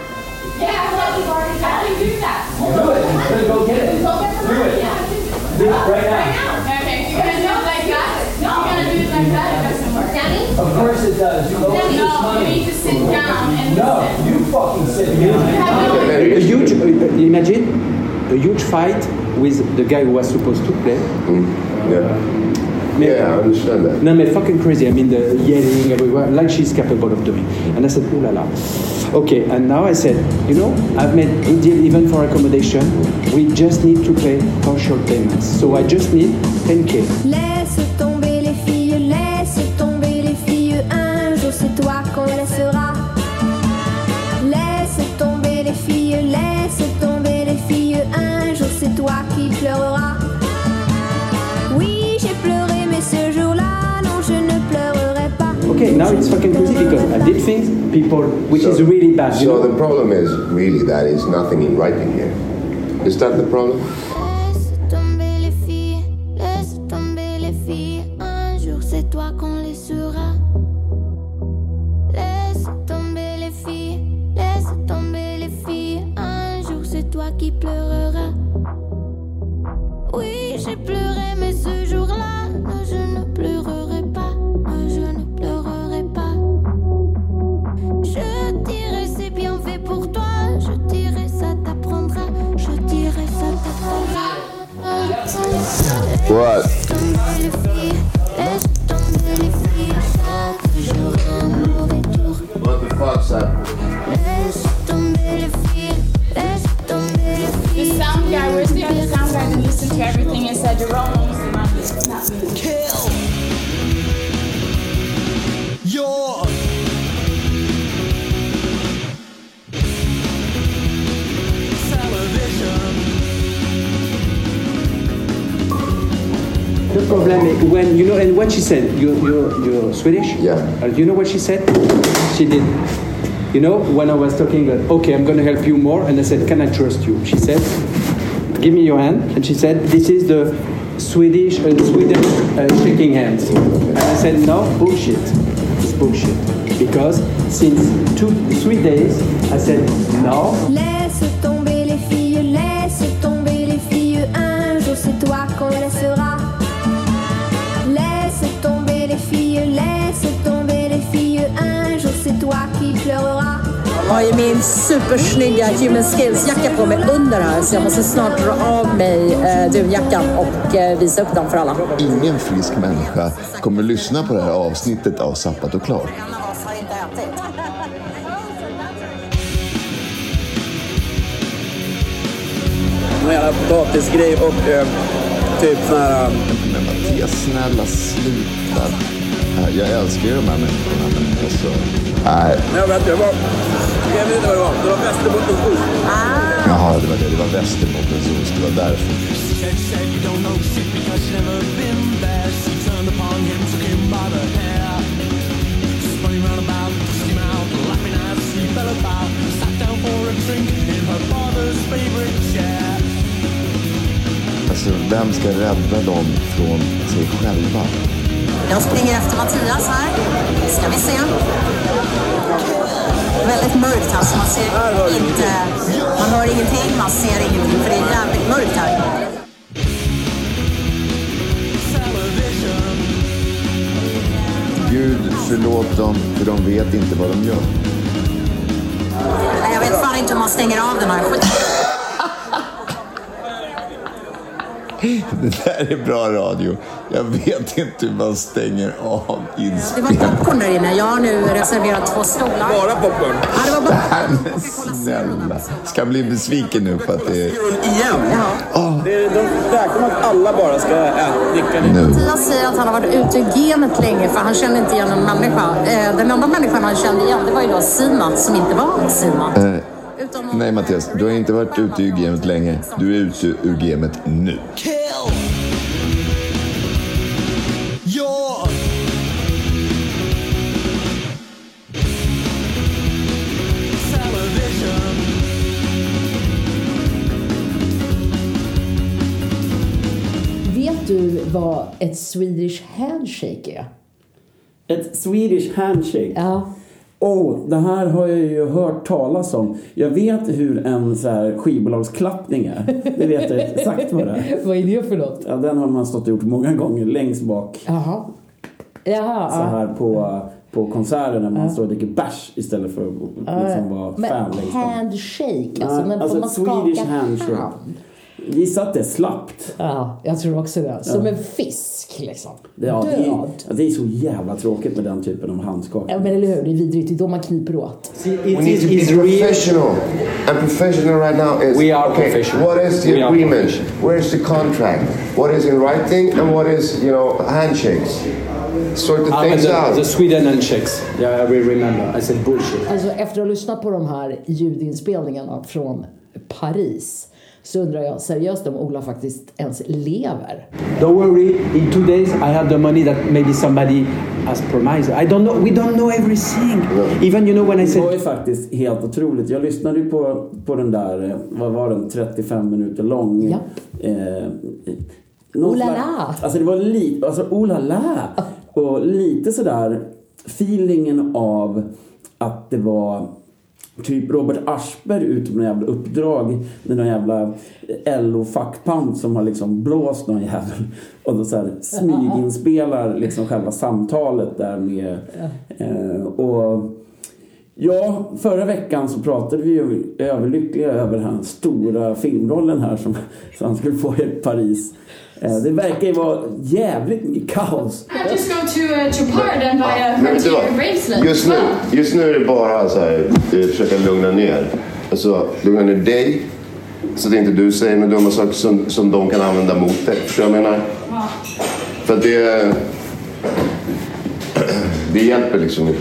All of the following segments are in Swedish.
Yeah, I thought you already got it. Do that. Do it. I'm gonna go get it. Go get the Do money. it. Yeah. Do it right Right now. now. Okay, you're gonna do it like that. No, you're gonna do it like that. It doesn't work. Danny? Of course it does. You owe me this No, you need money. to sit down and No, listen. you fucking sit down. Have A huge, imagine a huge fight with the guy who was supposed to play. Yeah. Mais- Yeah, I understand that. Non mais fucking crazy, I mean the yelling everywhere, like she's capable of doing. And I said, ooh la la. Okay, and now I said, you know, I've made a deal even for accommodation. We just need to pay partial payments. So I just need 10k. Laisse tomber les filles, laisse tomber les filles, un jour c'est toi qu'on laissera. Laisse tomber les filles, laisse tomber les filles, un jour c'est toi qui pleureras. Oui, j'ai pleuré, mais ce jour-là, non, je ne pleurerai pas. Okay, now it's fucking crazy because I did things, people, which So- is really bad. you So know? the problem is really that is nothing in writing here. Is that the problem? Laisse tomber les filles, laisse tomber les filles, un jour c'est toi qu'on les sera. Laisse tomber les filles, laisse tomber les filles, un jour c'est toi qui pleureras. Oui, j'ai pleuré, mais ce jour-là, non, je ne pleurerai pas, non, je ne pleurerai pas. Je dirai c'est bien fait pour toi, je dirai ça t'apprendra, je dirai ça t'apprendra. What? Laisse tomber les filles, laisse tomber les filles, ça toujours un mauvais tour. What the fuck's up? Laisse tomber les filles, laisse tomber les The filles. sound guy, where's the other sound guy that listened to everything and said Jerome owns the money, it's not me. You're television. The problem is when you know and what she said. You you you're Swedish. Yeah. Uh, you know what she said? She did. You know when I was talking that okay I'm gonna help you more and I said can I trust you? She said, give me your hand and she said this is the Swedish uh, Sweden uh, shaking hands. And I said no bullshit. It's bullshit because since two three days I said no Laisse tomber les filles, laisse tomber les filles, un jour c'est toi qu'on laissera. Laisse tomber les filles, laisse tomber les filles, un jour c'est toi qui pleureras. Jag har ju min supersnygga Human Skills-jacka på mig under här så jag måste snart dra av mig eh, dunjackan och eh, visa upp den för alla. Ingen frisk människa kommer lyssna på det här avsnittet av Sappat och klart. En av oss har inte ätit. Någon jävla potatisgrej och eh, typ sån här... Men Mattias, snälla sluta. Nej, Jag älskar ju de här människorna, men alltså... Nej, Jag vet inte, det var... Jag vet inte vad det var. Det var Västerbottens ost. jaha, det var det. Det var Västerbottens ost. Det var därför. Said, said you don't know shit because you never been there. She turned upon him, took him by the hair. Spun him round about, pushed him out, laughing as she fell about. Sat down for a drink in her father's favorite chair. Alltså, vem ska rädda dem från sig själva? Jag springer efter Mattias här. Ska vi se. Väldigt mörkt här så man ser inte... Man hör ingenting, man ser ingenting för det är jävligt mörkt här. Television. Gud, förlåt dem, för de vet inte vad de gör. Nej, jag vet fan inte hur man stänger av den här skiten. Det där är bra radio. Jag vet inte hur man stänger av Det inspelningen. var popcorn där inne. Jag har nu reserverat två stolar. Bara popcorn. Ja, det var bara... Nej, men Snälla. Ska bli besviken nu för att det är... Igen. Ja. E Det, de räknar med att alla bara ska äta, dricka lite. Nu. Mattias säger att han har varit ute ur genet länge för han känner inte igen en människa. Eh, Den enda människan han kände igen det var ju då Simon som inte var Simon. Eh, Utan någon- Nej Mattias, du har inte varit ute ur gamet länge. Du är ute ur gamet nu. Kill. Your television. Vet du vad ett Swedish handshake är? Ett Swedish handshake. Ja. Oh, det här har jag ju hört talas om. Jag vet hur en så här skivbolagsklappning är. Det vet jag exakt vad det är. Vad är det för något? Ja, den har man stått och gjort många gånger längst bak Jaha. Jaha. så ja. här på, på konserter när man står och dricker bärs istället för att liksom vara fan Men längst bak. handshake alltså. Men alltså får man ett Swedish skaka handshake. hand? Gissa att det är slappt. Ja, jag tror också det. Som en fisk liksom. Ja, det, är, Död. ja, det är så jävla tråkigt med den typen av handskakning. Ja, men eller hur, det är vidrigt. Det är då man kniper åt. See, it We need is to be Israel. professional. And professional right now is We are okay, professional. What is the We are agreement? Where's the contract? What is in writing and what is, you know, handshakes? Sort the Ah, but things the, out. the Sweden and Czechs. Yeah, I will remember. I said bullshit. Alltså efter att ha lyssnat på de här ljudinspelningarna från Paris så undrar jag seriöst om Ola faktiskt ens lever. Don't worry. In two days, I have the money that maybe somebody has promised. I don't know. We don't know everything. Even you know when I Det var ju said faktiskt helt otroligt. Jag lyssnade ju på, på den där, eh, vad var den, 35 minuter lång. Ja. Eh, någon Oh la slags- la. Alltså det var lite, alltså oh la la. Och lite sådär feelingen av att det var typ Robert Aschberg ute på något jävla uppdrag med någon jävla LO-fackpamp som har liksom blåst någon jävel och då så här smyginspelar liksom själva samtalet där med eh, och Ja, förra veckan så pratade vi ju överlyckliga över den stora filmrollen här som, som han skulle få i Paris. Eh, Det verkar ju vara jävligt mycket kaos. I just go to uh, Chopard and buy a Men vet du frontier vad? bracelet. Just nu, just nu är det bara så här, eh, försöka lugna ner. Alltså, lugna ner dig. Så att inte du säger några dumma saker som, som de kan använda mot dig. Förstår du vad jag menar? För att det... Det hjälper liksom inte.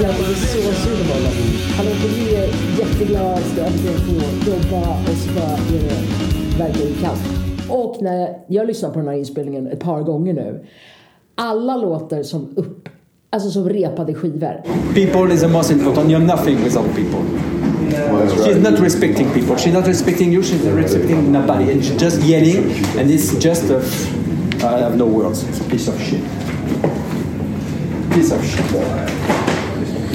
Jag är så sur på honom. Han åker ner jätteglad, ska äntligen få jobba och så bara är det verkligen kallt. Och när jag lyssnar på den här inspelningen ett par gånger nu. Alla låter som upp, alltså som repade skivor. people is the most important. You're nothing without people. She's not respecting people. She's not respecting you. She's not respecting nobody. And she's just yelling. And it's just a. I have no words. It's a piece of shit. Piece of shit.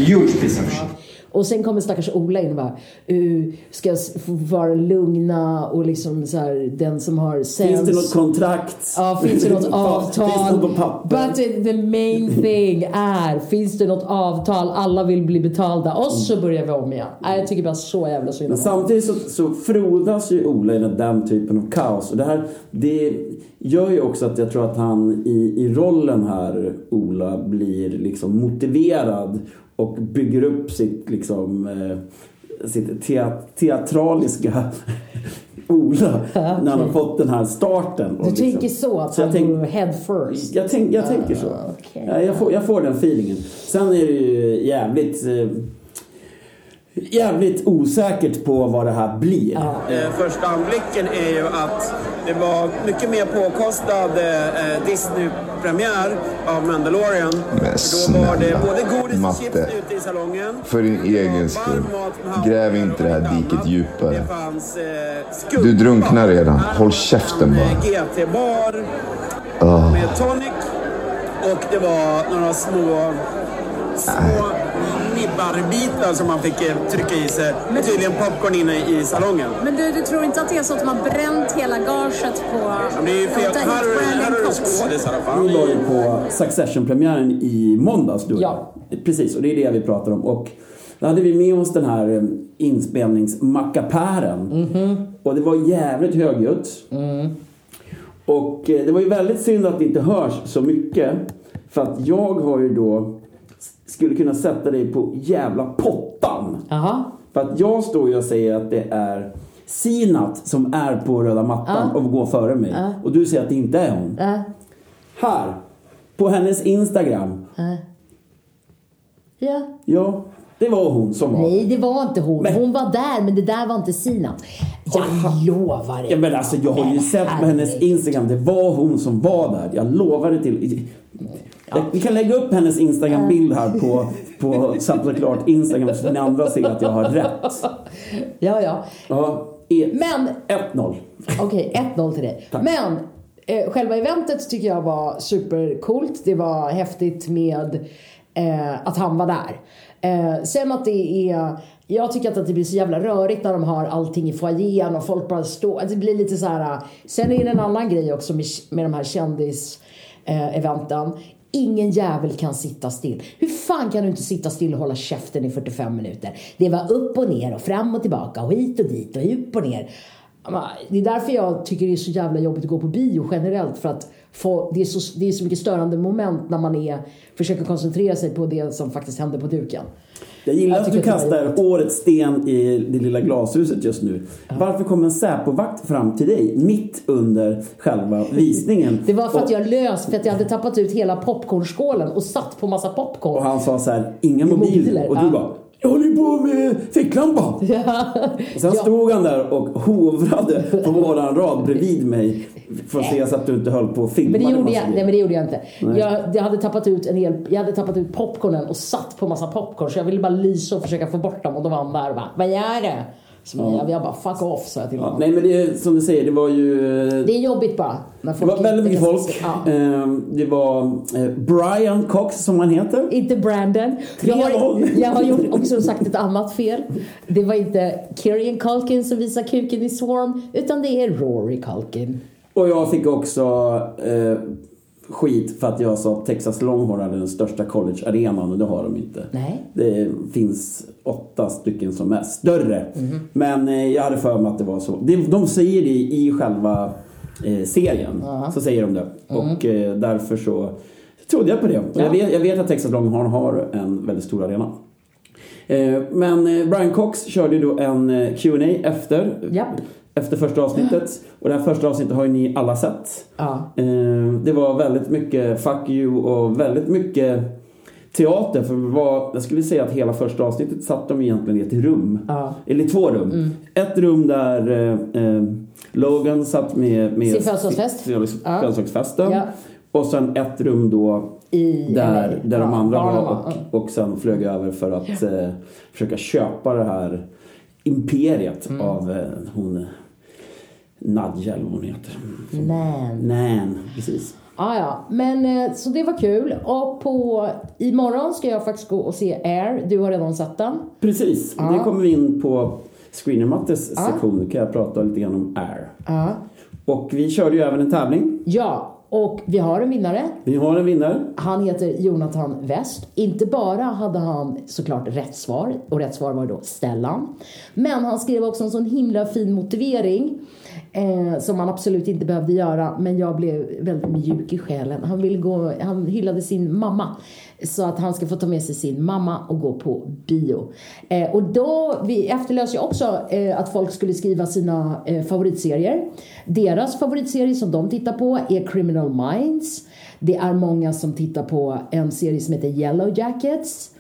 Huge piece of shit. Och sen kommer stackars Ola in och bara, "Uh, ska jag s- få vara lugna och liksom så här, den som har Finns det sämst- något kontrakt? Ja, finns det något Finns avtal? det något på papper? But the main thing är, finns det något avtal? Alla vill bli betalda och så börjar vi om igen. Nej, jag tycker bara så jävla synd Mm. Men om honom. samtidigt så, så frodas ju Ola i den- den typen av kaos. Och det här det gör ju också att jag tror att han i, i rollen här, Ola, blir liksom motiverad och bygger upp sitt liksom eh, sitt teat- teatraliska Ola när han har fått den här starten. och Du liksom- tänker så, att Så jag han tänk- går head first. jag, tänk, jag tänker så. okej. Ja, jag, får, jag får den feelingen. Sen är det ju jävligt... Eh, jävligt osäkert på vad det här blir. Eh, första anblicken är ju att det var mycket mer påkostad eh, Disney-premiär av Mandalorian. Men För då var det snälla, både godis och chips Matte. ute i salongen. För din egen skull. Gräv inte det här diket djupare. eh, Du drunknar redan. Håll käften bara. Ah. GT-bar med tonic och det var några små, små nibbarbitar som man fick eh, trycka i sig. Och tydligen popcorn inne i salongen. Men du, du tror inte att det är så att de har bränt hela gaget på... Men Det är ju fel. Hämta hit Här har du- här har Brandon du Cox. skådisar. fan. Vi var ju på Succession-premiären i måndags du och Ja. jag. Precis, och det är det vi pratar om. Och då hade vi med oss den här eh, inspelningsmackapären. Mhm. Och det var jävligt högljutt. Mm. Och eh, det var ju väldigt synd att det inte hörs så mycket. För att jag har ju då skulle kunna sätta dig på jävla pottan. Jaha. För att jag står ju och säger att det är Sinat som är på röda mattan och går före mig. Och du säger att det inte är hon. Äh, Här! På hennes Instagram. äh. Ja. Ja, det var hon som var. Nej, det var inte hon. Men- Hon var där, men det där var inte Sina. Jag lovar Ja, dig. men alltså, jag har ju sett på hennes Instagram. Det var hon som var där. Jag lovar det till... Eh, Vi kan lägga upp hennes Äh. Instagram-bild här på, på Satt och klart Instagram så ni andra ser att jag har rätt. Ja, ja. Ja, e- Men 1-0. Okej, 1-0 till dig. Men Eh, själva eventet tycker jag var supercoolt. Det var häftigt med eh, att han var där. Eh, sen att det är... Jag tycker att det blir så jävla rörigt när de har allting i foajén och folk bara står... alltså Det blir lite så här... eh, Sen är det en annan grej också med, med de här kändis-eventen. Ingen jävel kan sitta still. Hur fan kan du inte sitta still och hålla käften i 45 minuter? Det var upp och ner och fram och tillbaka och hit och dit och upp och ner. Ja, men Det är därför jag tycker det är så jävla jobbigt att gå på bio generellt. För att få, det, är så, det är så mycket störande moment när man är, försöker koncentrera sig på det som faktiskt händer på duken. Jag gillar att du tycker att Alltså, det var kastar årets sten i det lilla glashuset just nu. Varför kom en Säpo-vakt fram till dig mitt under själva visningen? Det var för att Och- jag lös, för att jag hade tappat ut hela popcornskålen och satt på massa popcorn. Och han sa så här, inga mobiler. Mobiler, och du ja. bara, jag håller ju på med ficklampan. Och sen stod han där och hovrade på våran rad bredvid mig. För att se så att du inte höll på och filmade. Men det, gjorde massa jag, nej, grejer. men det gjorde jag inte. Nej. Jag, jag, hade tappat ut en hel, jag hade tappat ut popcornen och satt på massa popcorn så jag ville bara lysa och försöka få bort dem och då var han där och bara Vad gör du? Så Ja. jag, jag bara fuck off sa jag till Ja, honom. nej men det är som du säger, det var ju... Det är jobbigt bara. När Det folk Eh. var väldigt mycket inte kan- folk. Ja. Ehm, Det var eh, Brian Cox som han heter. Inte Brandon. Jag har, 3-0. jag har gjort också sagt ett annat fel. Det var inte Kieran Culkin som visar kuken i Swarm utan det är Rory Culkin. Och jag fick också eh, skit för att jag sa att Texas Longhorn hade den största collegearenan och det har de inte. Nej. Det finns åtta stycken som är större. Mhm. Men eh, jag hade för mig att det var så. De, de säger det i själva eh, serien. Så säger de det. Och eh, därför så trodde jag på det. Och Mhm. Ja. jag, vet, jag vet att Texas Longhorn har en väldigt stor arena. Eh, Men eh, Brian Cox körde ju då en eh, Q&A efter Japp. efter första avsnittet. Och det här första avsnittet har ju ni alla sett. Ja. Eh, Det var väldigt mycket fuck you och väldigt mycket teater. För det var, jag skulle säga att hela första avsnittet satt de egentligen i ett rum. Ja. Mm. Eller i två rum. Ett rum där eh, eh, Logan satt med... med Sin födelsedagsfest. sin- sin- Ja. födelsedagsfesten. Ja. Och sen ett rum då I där, LA. där de Ja, andra barnen var var, och, och sen flög över för att eh, försöka köpa det här imperiet Mm. av eh, hon Nadja eller vad hon heter. Nej. Nan, precis. Ah, ja, men eh, så det var kul. Och på imorgon ska jag faktiskt gå och se Air. Du har redan sett den. Precis, det kommer vi in på Screener Mattes sektion. Nu kan jag prata lite grann om Air. Ja. Och vi körde ju även en tävling. Ja, och vi har en vinnare. Vi har en vinnare. Han heter Jonathan West. Inte bara hade han såklart rätt svar, och rätt svar var då Stellan. Men han skrev också en sån himla fin motivering eh, som han absolut inte behövde göra. Men jag blev väldigt mjuk i själen. Han, ville gå, han hyllade sin mamma. Så att han ska få ta med sig sin mamma och gå på bio. Eh, och då, vi efterlöser ju också eh, att folk skulle skriva sina eh, favoritserier. Deras favoritserie som de tittar på är Criminal Minds. Det är många som tittar på en serie som heter Yellow Jackets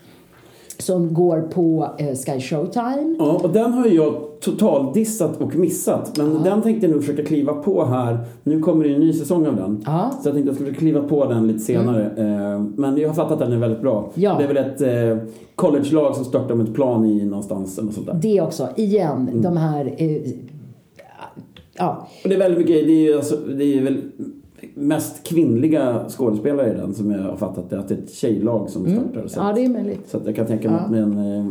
som går på eh, Sky Showtime. Ja, och den har ju jag totaldissat och missat. Men den tänkte jag nu försöka kliva på här. Nu kommer det ju en ny säsong av den. Ja. Mm. Så jag tänkte jag skulle kliva på den lite senare. Eh, Men jag har fattat att den är väldigt bra. Ja. Det är väl ett eh, collegelag som störtar med ett plan i någonstans eller något sånt där. Det också, igen, de här... Eh, ja, Och det är väldigt mycket, det är ju alltså, det är väl mest kvinnliga skådespelare i den som jag har fattat det. Att det är ett tjejlag som startar. Så, Mm. ja, det är möjligt. så att jag kan tänka mig att den eh,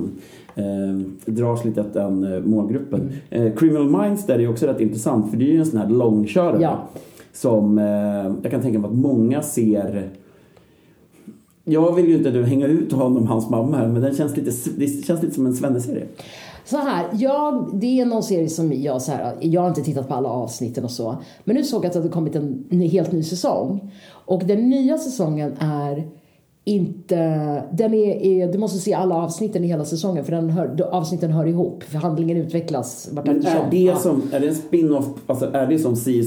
eh, dras lite åt den eh, målgruppen. Mm. Eh, Criminal Minds där är ju också rätt intressant för det är ju en sån här långkörare. Ja. Som eh, jag kan tänka mig att många ser jag vill ju inte nu hänga ut honom och hans mamma här men den känns lite, det känns lite som en svenneserie. Så här, jag, det är någon serie som jag så här, jag har inte tittat på alla avsnitten och så. Men nu såg jag att det hade kommit en ny- helt ny säsong. Och den nya säsongen är inte, den är, är, du måste se alla avsnitten i hela säsongen för den hör, avsnitten hör ihop. För handlingen utvecklas vart Men är det, som, är det en spin-off, alltså är det som CSI,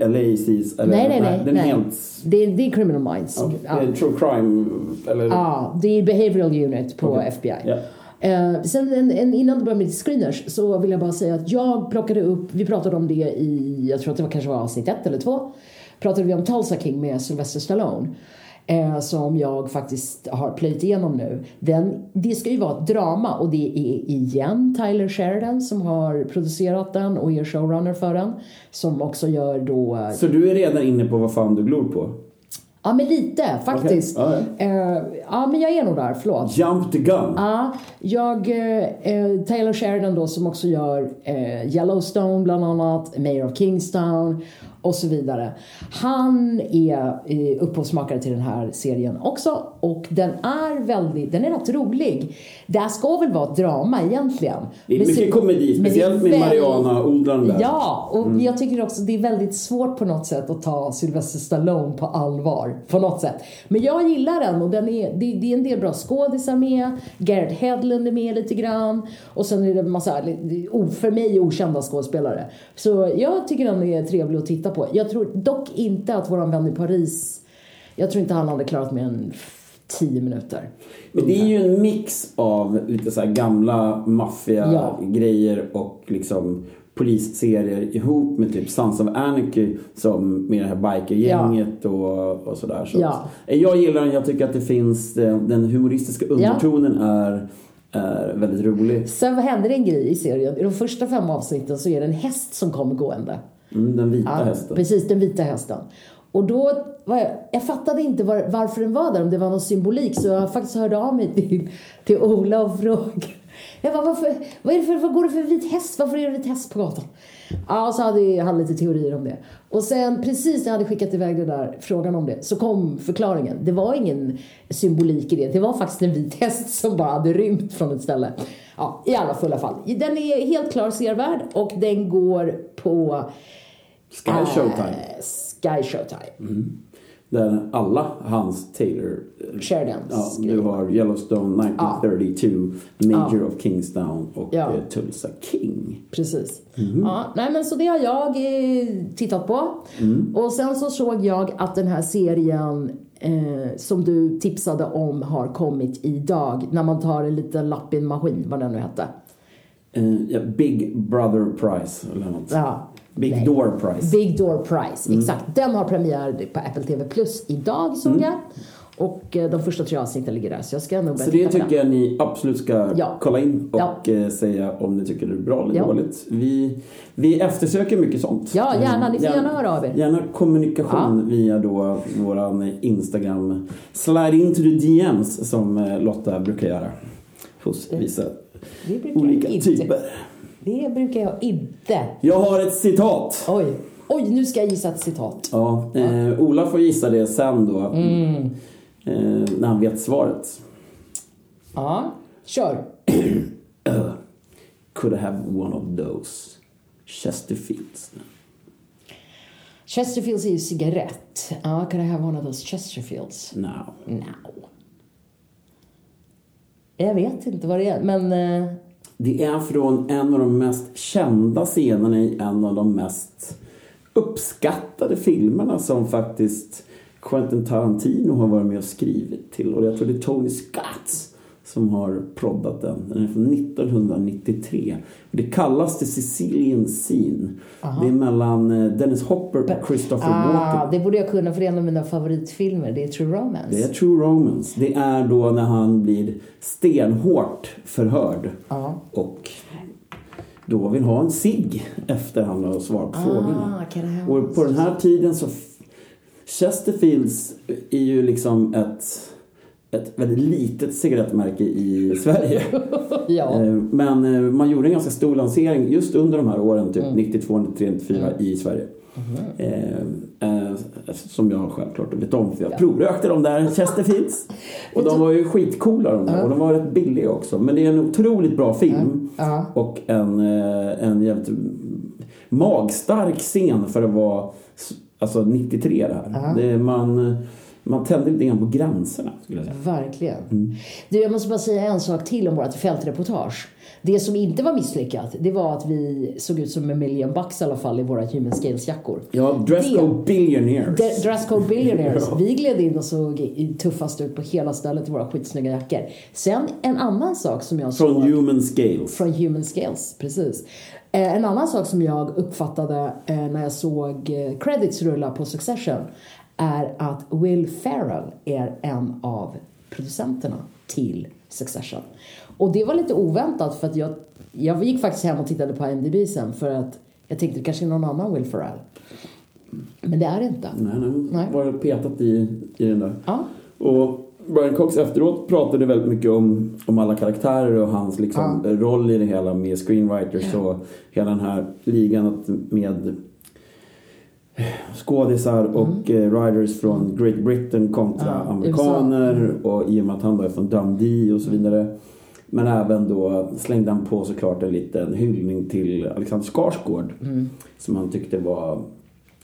LA, CSI? Eller, Nej, nej, nej. Den är nej. helt... Det, är, det är Criminal Minds. Okay. Ja. Det är True crime, eller? Ja, det är Behavioral Unit på Okej. FBI. Ja. Eh, sen en, en, innan du börjar med screeners så vill jag bara säga att jag plockade upp, vi pratade om det i, jag tror att det var kanske var avsnitt ett eller två, pratade vi om Tulsa King med Sylvester Stallone. eh, som jag faktiskt har plöjt igenom nu. Den, det ska ju vara ett drama och det är igen Tyler Sheridan som har producerat den och är showrunner för den. Som också gör då... eh, Så du är redan inne på vad fan du glor på? Ja men lite faktiskt. Okej, Eh, ja men jag är nog där, förlåt. Jump the gun. Ja, jag, eh, eh, Taylor Sheridan då som också gör eh, Yellowstone bland annat, Mayor of Kingstown och så vidare. Han är eh, upphovsmakare till den här serien också och den är väldigt, den är rätt rolig. Det här ska väl vara ett drama egentligen. Det är Men mycket så- komedi, men det är speciellt med väldigt- Mariana-odlaren där. Ja, och Mm. jag tycker också det är väldigt svårt på något sätt att ta Sylvester Stallone på allvar. På något sätt. Men jag gillar den och den är, det, det är en del bra skådisar med. Garrett Hedlund är med lite grann. Och sen är det en massa, li- o- för mig, okända skådespelare. Så jag tycker den är trevlig att titta på. Jag tror dock inte att våran vän i Paris, jag tror inte han hade klarat mer än f- 10 minuter. Men det är ju en mix av lite så här gamla maffia-grejer och liksom polisserier ihop med typ Sons of Anarchy som med det här bikergänget och, och sådär. Så Ja. att- Jag gillar den, jag tycker att det finns eh, den humoristiska undertonen är, är väldigt rolig. Sen händer det en grej i serien. I de första fem avsnitten så är det en häst som kommer gående. Mm, den vita Ja, hästen. Precis, den vita hästen. Och då var jag, jag fattade inte var, varför den var där, om det var någon symbolik. Så jag faktiskt hörde av mig till, till Ola och frågade. Jag bara, varför, vad, är det för, vad går det för vit häst? Varför är det en vit häst på gatan? Ja, och så hade jag- han lite teorier om det. Och sen precis när jag hade skickat iväg den där frågan om det så kom förklaringen. Det var ingen symbolik i det. Det var faktiskt en vit häst som bara hade rymt från ett ställe. Ja, i alla fulla fall. Den är helt klar sevärd och den går på Sky Showtime. Eh, Sky Showtime. Mm. Där alla hans Taylor... eh, Sheridan Ja, skriver. du har Yellowstone 1932, Major of Kingstown och Ja. eh, Tulsa King. Precis. Mhm. Ja, nej men så det har jag eh, tittat på. Mm. Och sen så såg jag att den här serien eh, som du tipsade om har kommit idag. När man tar en liten lapp i en maskin, vad den nu hette. Eh, ja, Big Brother Prize eller något. Ja. Big Door Prize. Big Door Prize, Mm. exakt. Den har premiär på Apple TV Plus idag såg jag. Och eh, de första tre avsnitten ligger där så jag ska nog börja Så det titta på den. tycker jag ni absolut ska Ja. kolla in och Ja. eh, säga om ni tycker det är bra eller Ja. dåligt. Vi, vi eftersöker mycket sånt. Ja, gärna. Ni får Eh, gärna höra av er. Gärna kommunikation via då våran Instagram. Slide into the DMs som eh, Lotta brukar göra hos vissa Det Eh, brukar olika jag inte. typer. Det brukar jag inte. Jag har ett citat. Oj, oj nu ska jag gissa ett citat. Ja, eh, Ola får gissa det sen då. Mm. Eh, när han vet svaret. Ja, kör. Could have one of those Chesterfields. Chesterfields är ju cigarett. Ja, could I have one of those Chesterfields? Now. No. Jag vet inte vad det är, men... eh, Det är från en av de mest kända scenerna i en av de mest uppskattade filmerna som faktiskt Quentin Tarantino har varit med och skrivit till. Och jag tror det är Tony Scott som har proddat den. Den är från 1993. Och det kallas The Sicilian Scene. Aha. Det är mellan eh, Dennis Hopper och Christopher Walken. ah, det borde jag kunna för det är en av mina favoritfilmer. Det är True Romance. Det är true romance. Det är då när han blir stenhårt förhörd Ja. och då vill ha en cigg efter han har svarat på frågorna. Ah, could I have... Och på den här tiden så... Chesterfields är ju liksom ett, ett väldigt litet cigarettmärke i Sverige. ja. Eh, Men eh, man gjorde en ganska stor lansering just under de här åren, typ Mm. 92, 93, 94 i Sverige. Mm-hmm. Eh, eh, som jag självklart vet om för jag provrökte de där Chesterfields. Och de var ju skitcoola de där och de var rätt billiga också. Men det är en otroligt bra film Ja. och en, eh, en jävligt magstark scen för att vara s- alltså 93 det här. Ja. Det, man, eh, man tände lite grann på gränserna skulle jag säga. Verkligen. Mm. Du, jag måste bara säga en sak till om vårt fältreportage. Det som inte var misslyckat, det var att vi såg ut som en million bucks i alla fall i våra Human Scales-jackor. Ja, Dresscode Billionaires. De- Dresscode Billionaires. Ja. Vi gled in och såg i- tuffast ut på hela stället i våra skitsnygga jackor. Sen en annan sak som jag såg... Från Human Scales. Från Human Scales, precis. Eh, En annan sak som jag uppfattade eh, när jag såg eh, credits rulla på Succession är att Will Ferrell är en av producenterna till Succession. Och det var lite oväntat för att jag, jag gick faktiskt hem och tittade på IMDb sen för att jag tänkte det kanske är någon annan Will Ferrell. Men det är det inte. Nej, nu var det petat i, i den där. Och Brian Cox efteråt pratade väldigt mycket om, om alla karaktärer och hans liksom, roll i det hela med screenwriters och hela den här ligan att- med skådisar och eh, writers från Great Britain kontra Mm. Ja, Mm. amerikaner och i och med att han då är från Dundee och så vidare. Men även då slängde han på såklart en liten hyllning till Alexander Skarsgård Mm. som han tyckte var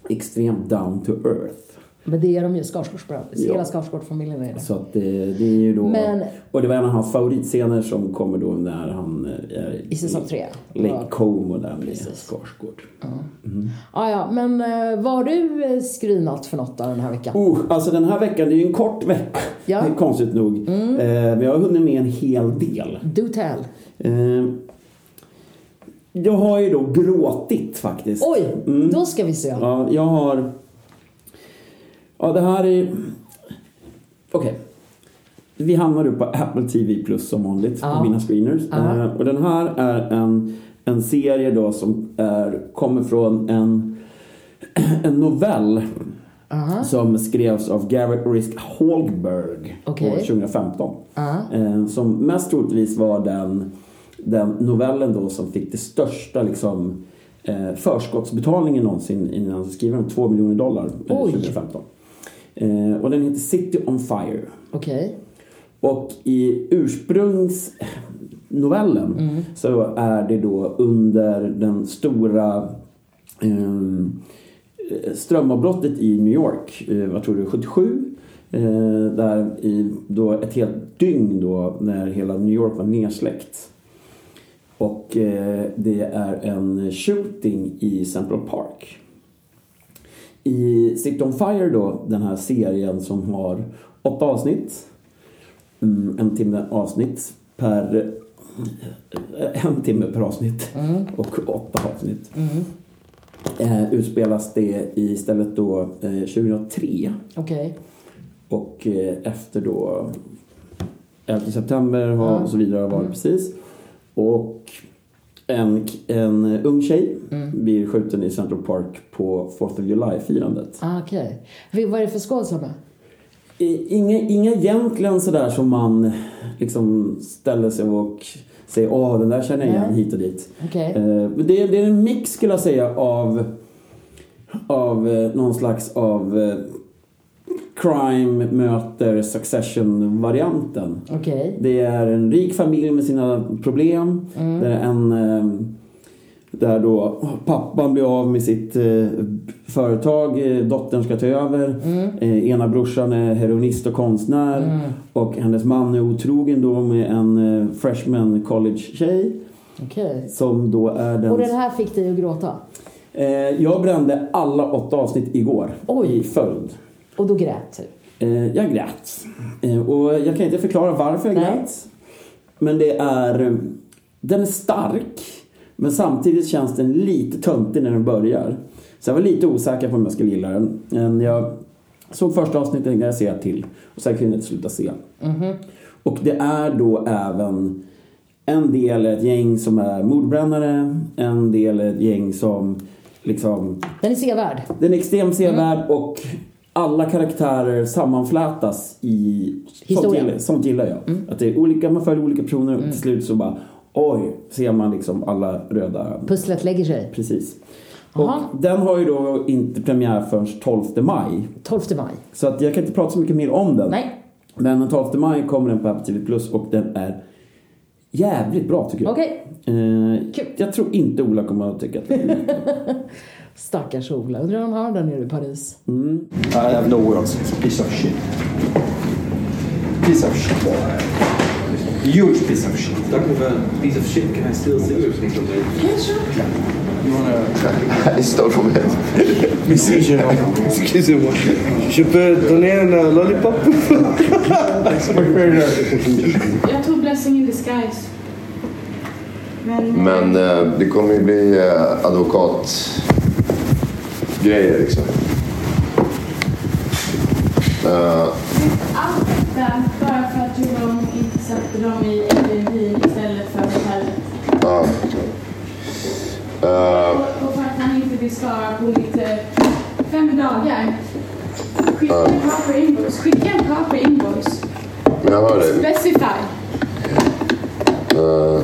extremt down to earth. Men det är de ju, Skarsgårdsbröderna. Ja. Hela Skarsgårdsfamiljen är det. Så att det, det är ju då... Men- Och det var en av hans favoritscener som kommer då när han eh, är I säsong tre. Lake Ja. Como där med Skarsgård. Ah, ja, men eh, vad har du eh, screenat för något då den här veckan? Oh, alltså den här veckan, det är ju en kort vecka. Ja. Mm. Konstigt nog. Eh, vi har hunnit med en hel del. Do tell. Eh, jag har ju då gråtit faktiskt. Mm. Oj, då ska vi se. Ja, jag har... Ja, det här är... Okej. Vi hamnar upp på Apple TV Plus som vanligt Ja. på mina screeners. Ja. Eh, och den här är en, en serie då som är, kommer från en, en novell Aha. som skrevs av Garrett Risk Holberg Okej. år 2015. Ja. Eh, som mest troligtvis var den, den novellen då som fick det största liksom, eh, förskottsbetalningen någonsin innan han skrev den, 2 miljoner dollar eh, Oj. 2015. Eh, och den heter City on Fire. Okej. Och i ursprungsnovellen så är det då under den stora ehm, eh, strömavbrottet i New York, eh, vad tror du, 77? Eh, där i då ett helt dygn då när hela New York var nersläckt. Och eh, det är en shooting i Central Park. I Sit on Fire då, den här serien som har åtta avsnitt. Mm, en timme avsnitt per... eh, En timme per avsnitt och åtta avsnitt. Eh, utspelas det istället då eh, 2003 Okej. och eh, efter då 11 september har, och så vidare har varit precis. Och en, en ung tjej blir skjuten i Central Park på 4th of July-firandet. Ah, Okej. Vi- Vad är det för skådisar med? I- Inga, inga egentligen sådär som man liksom ställer sig och säger åh den där känner jag igen hit och dit. Okej. Eh, men det, är- det är en mix skulle jag säga av, av eh, någon slags av eh, crime möter succession varianten. Okej. Mm. Det är en rik familj med sina problem. Det är en eh, där då pappan blir av med sitt eh, företag, eh, dottern ska ta över. Mm. Eh, ena brorsan är heroinist och konstnär. Och hennes man är otrogen då med en eh, freshman college-tjej. Okej. Som då är den... Och den här fick dig att gråta? eh, jag brände alla åtta avsnitt igår. Oj. I följd. Och då grät du? Eh, jag grät. Eh, och jag kan inte förklara varför jag Nej. grät. Men det är... eh, Den är stark. Men samtidigt känns den lite töntig när den börjar. Så jag var lite osäker på om jag skulle gilla den. Men jag såg första avsnittet tänkte jag ser till. Och sen kunde jag inte sluta se. Och det är då även en del är ett gäng som är mordbrännare. En del är ett gäng som liksom Den är sevärd. den är extremt sevärd Mm. och alla karaktärer sammanflätas i... Sånt Historien. Mm. gillar, sånt gillar jag. Att det är olika, man följer olika personer och till slut så bara oj, ser man liksom alla röda... Pusslet lägger sig. Precis. Jaha. Och den har ju då inte premiär förrän 12 maj. 12 maj. Så att jag kan inte prata så mycket mer om den. Nej. Men den 12 maj kommer den på Apple TV Plus och den är jävligt bra tycker jag. Okej. Eh, Kul. jag tror inte Ola kommer att tycka att den är Stackars Ola. Undrar om han har den nere i Paris? I have no words. It's a piece of shit. Piece of shit. Huge piece of shit. Talking about piece of shit, can I steal cigarettes from somebody? You wanna... I stole from him. Excusez-moi. Je peux donner un euh, lollipop Jag tog Blessing in disguise. Men... Men eh, det kommer ju bli eh, advokatgrejer liksom. Eh, Allt detta bara för att Jerome inte satte dem i LVI istället för hotellet. ja. Eh, Och för att han inte vill svara på lite fem dagar. Skicka en proper invoice. Skicka en proper invoice. men jag hör dig. Specify. Eh,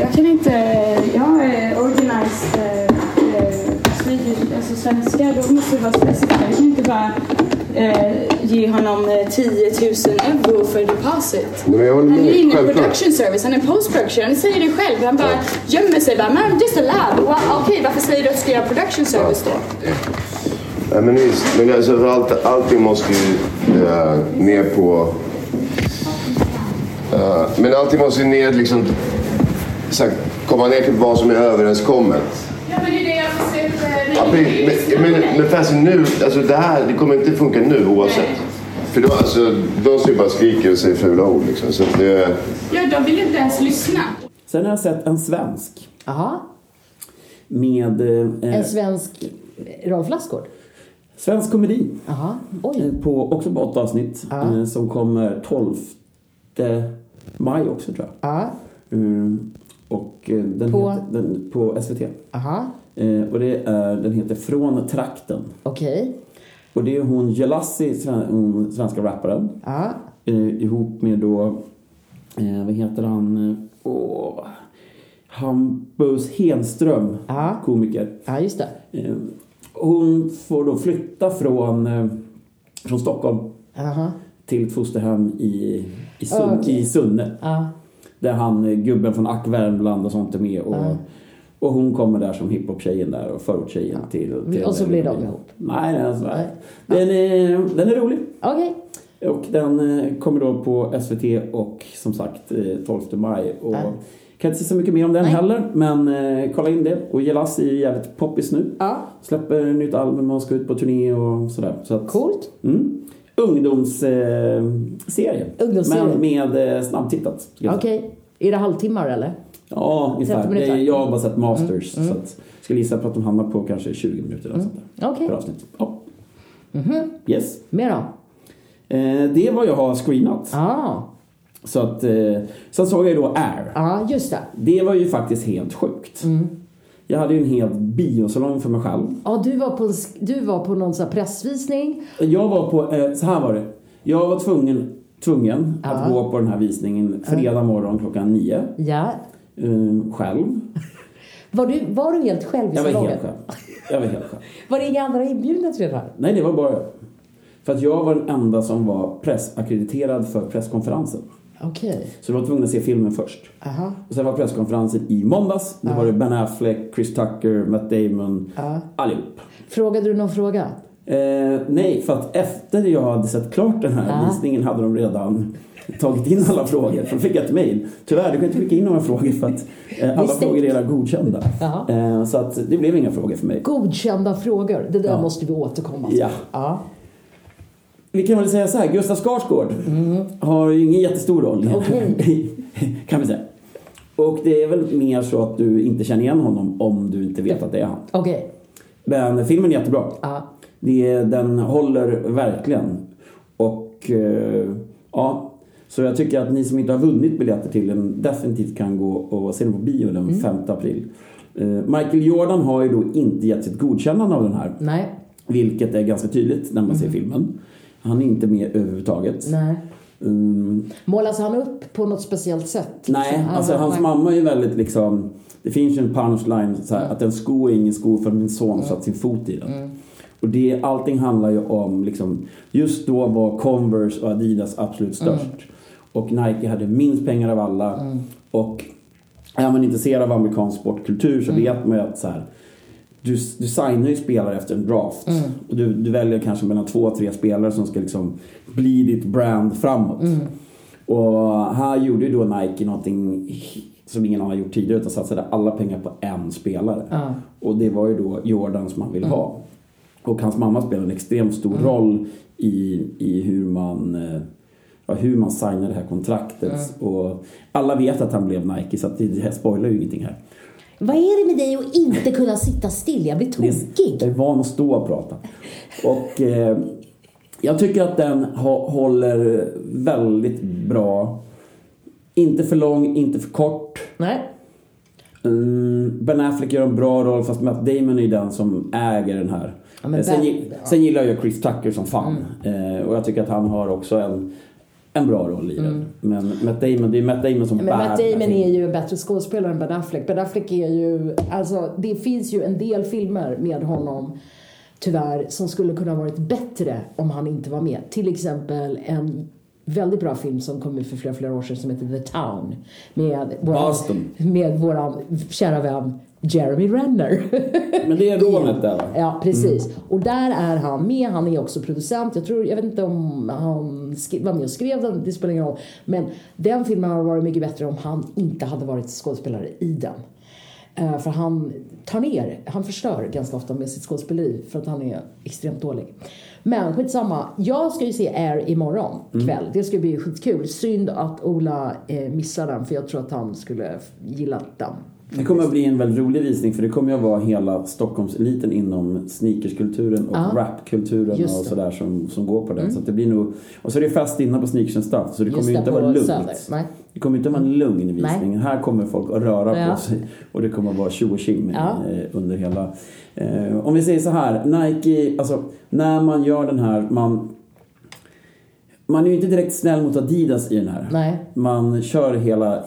Jag kan inte... Jag är organized eh, eh, Swedish, alltså svenskar. Då måste det vara specifikt. Jag kan inte bara eh, ge honom eh, 10 000 euro för deposit. Nej, men jag håller Han är med. inne i Självklart. production service, han är post production. Han säger det själv. Han bara gömmer sig. Bara, men just a lab. Well, Okej, varför säger du att du ska göra production service då? Nej, men visst. Men alltså, för allt, allting måste ju eh, ner på... eh, men allting måste ju ner liksom... Så här, komma ner till vad som är överenskommet. Ja, men det är det jag försöker... eh, Ja, men, men, men fast nu, alltså det här, det kommer inte funka nu oavsett. För då, alltså, de står ju bara och skriker och säger fula ord liksom. Så att det, Ja, de vill inte ens lyssna. Sen har jag sett en svensk. Med... eh, En svensk Rolf Lassgård? Svensk komedi. Oj. Eh, På, också på åtta avsnitt. eh, Som kommer 12 maj också tror jag. Mm, och eh, den På? Heter, den, på SVT. Aha. Eh, och det är, den heter Från trakten. Okej. Och det är hon Jelassi, sven- hon svenska rapparen. Eh, ihop med då, eh, vad heter han? Eh, Åh, Hampus Henström, komiker. Ja, just det. Eh, hon får då flytta från, eh, från Stockholm Aha. till ett fosterhem i, i, Sun, Ah, okej. i Sunne. Ja. Där han, eh, gubben från Ack Värmland och sånt är med. Och, Ja. och hon kommer där som hiphop-tjejen där och förortstjejen till, till... Och så blir de ihop. Nej, nej, alltså, nej. Den, är, den är rolig. Okej. Och den eh, kommer då på SVT och som sagt eh, 12 maj. Och Ja. Kan inte säga så mycket mer om den heller, men eh, kolla in det. Och Jelas är ju jävligt poppis nu. Släpper nytt album och ska ut på turné och sådär. Så att, Coolt. Mm. Ungdomsserie. Eh, Ungdomsserie. Men med eh, snabbtittat. ska jag säga. Okej. Är det halvtimmar eller? Ja, 30 ungefär. minuter. Mm, Det- Jag har bara sett Masters. Så att, skulle gissa på att de hamnar på kanske 20 minuter eller sånt där. Okej. Mhm. Per avsnitt. Ja. Yes. Mer då? Eh, det är vad jag har screenat. Ah. Så att, eh, sen såg jag ju då Air. Ja, just det. Det var ju faktiskt helt sjukt. Jag hade ju en hel biosalong för mig själv. Ja, du var på, en sk- du var på någon sån här pressvisning. Jag var på, eh, så här var det. Jag var tvungen, tvungen att gå på den här visningen fredag morgon klockan nio. Ja. Eh, själv. Var du, var du helt själv i Jag var salongen? helt själv. Jag var helt själv. Var det inga andra inbjudna till det här? Nej, det var bara jag. För att jag var den enda som var pressackrediterad för presskonferensen. Okej. Så jag var tvungen att se filmen först. Aha. Och sen var presskonferensen i måndags. Då var det Ben Affleck, Chris Tucker, Matt Damon, allihop. Frågade du någon fråga? Eh, nej, för att efter jag hade sett klart den här Ja. visningen hade de redan tagit in alla frågor. För de fick ett mejl. Tyvärr, du kan inte skicka in några frågor för att eh, alla Mistake. frågor är redan godkända. Ja. Eh, så att det blev inga frågor för mig. Godkända frågor. Det där Ja. måste vi återkomma till. Ja. Ja. Vi kan väl säga så här, Gustav Skarsgård har ju ingen jättestor roll. Mm. Okej. kan vi säga. Och det är väl mer så att du inte känner igen honom om du inte vet att det är han. Okej. Men filmen är jättebra. Ja. Det, den håller verkligen. Och eh, ja, så jag tycker att ni som inte har vunnit biljetter till den definitivt kan gå och se den på bio den Mm. 5 april. Eh, Michael Jordan har ju då inte gett sitt godkännande av den här. Nej. Vilket är ganska tydligt när man ser filmen. Han är inte med överhuvudtaget. Nej. Mm, Målas han upp på något speciellt sätt? Nej, Liksom? alltså Ah, hans nej. mamma är ju väldigt liksom... Det finns ju en punchline så här, att en sko är ingen sko för min son satt sin fot i den. Och det, allting handlar ju om liksom, just då var Converse och Adidas absolut störst. Och Nike hade minst pengar av alla. Och är man intresserad av amerikansk sportkultur så vet man ju att så här, du, du signar ju spelare efter en draft. Och du, du väljer kanske mellan två, tre spelare som ska liksom bli ditt brand framåt. Och här gjorde ju då Nike någonting som ingen annan gjort tidigare utan satsade alla pengar på en spelare. Ja. Och det var ju då Jordan som han ville ha. Och hans mamma spelar en extremt stor roll i, i hur man eh, ja, hur man signar det här kontraktet. Och alla vet att han blev Nike så att det, det här spoilar ju ingenting här. Vad är det med dig att inte kunna sitta still? Jag blir tokig. Jag är van att stå och prata. Och eh, jag tycker att den ha, håller väldigt bra. Inte för lång, inte för kort. Nej. Mm, ben Affleck gör en bra roll fast Matt Damon är den som äger den här. Ja, Mm. men Eh, sen, Ben- gi- sen gillar jag Chris Tucker som fan. Eh, och jag tycker att han har också en, en bra roll i den. Mm. Men Matt Damon, det är Matt Damon som Men bär Matt den här Damon filmen. är ju en bättre skådespelare än Ben Affleck. Ben Affleck är ju, alltså det finns ju en del filmer med honom tyvärr som skulle kunna ha varit bättre om han inte var med. Till exempel en väldigt bra film som kom ut för flera, flera år sedan som heter The Town. Med våran, Boston. med våran kära vän Jeremy Renner. Men det är rånet där va? Ja, precis. Mm. Och där är han med. Han är också producent. Jag tror, jag vet inte om han skri- var med och skrev den, det spelar ingen roll. Men den filmen hade varit mycket bättre om han inte hade varit skådespelare i den. Eh, För han tar ner, han förstör ganska ofta med sitt skådespeleri för att han är extremt dålig. Men skitsamma, jag ska ju se Air imorgon Mm. kväll. Det ska bli skitkul. Synd att Ola eh, missar den för jag tror att han skulle gilla den. Det kommer att bli en väldigt rolig visning för det kommer att vara hela Stockholmseliten inom sneakerskulturen och Ja. rapkulturen och Just det. Mm. sådär som, som går på den. Så att det blir nog, och så är det fest innan på Sneakers and Stuff så det kommer ju Just inte där vara på lugnt. Söder. Nej. Det kommer inte vara en lugn visning. Nej. Här kommer folk att röra Ja. på sig och det kommer att vara tjo och tjim Ja. eh, under hela... Eh, om vi säger så här, Nike, alltså när man gör den här, man... Man är ju inte direkt snäll mot Adidas i den här. Nej. Man kör hela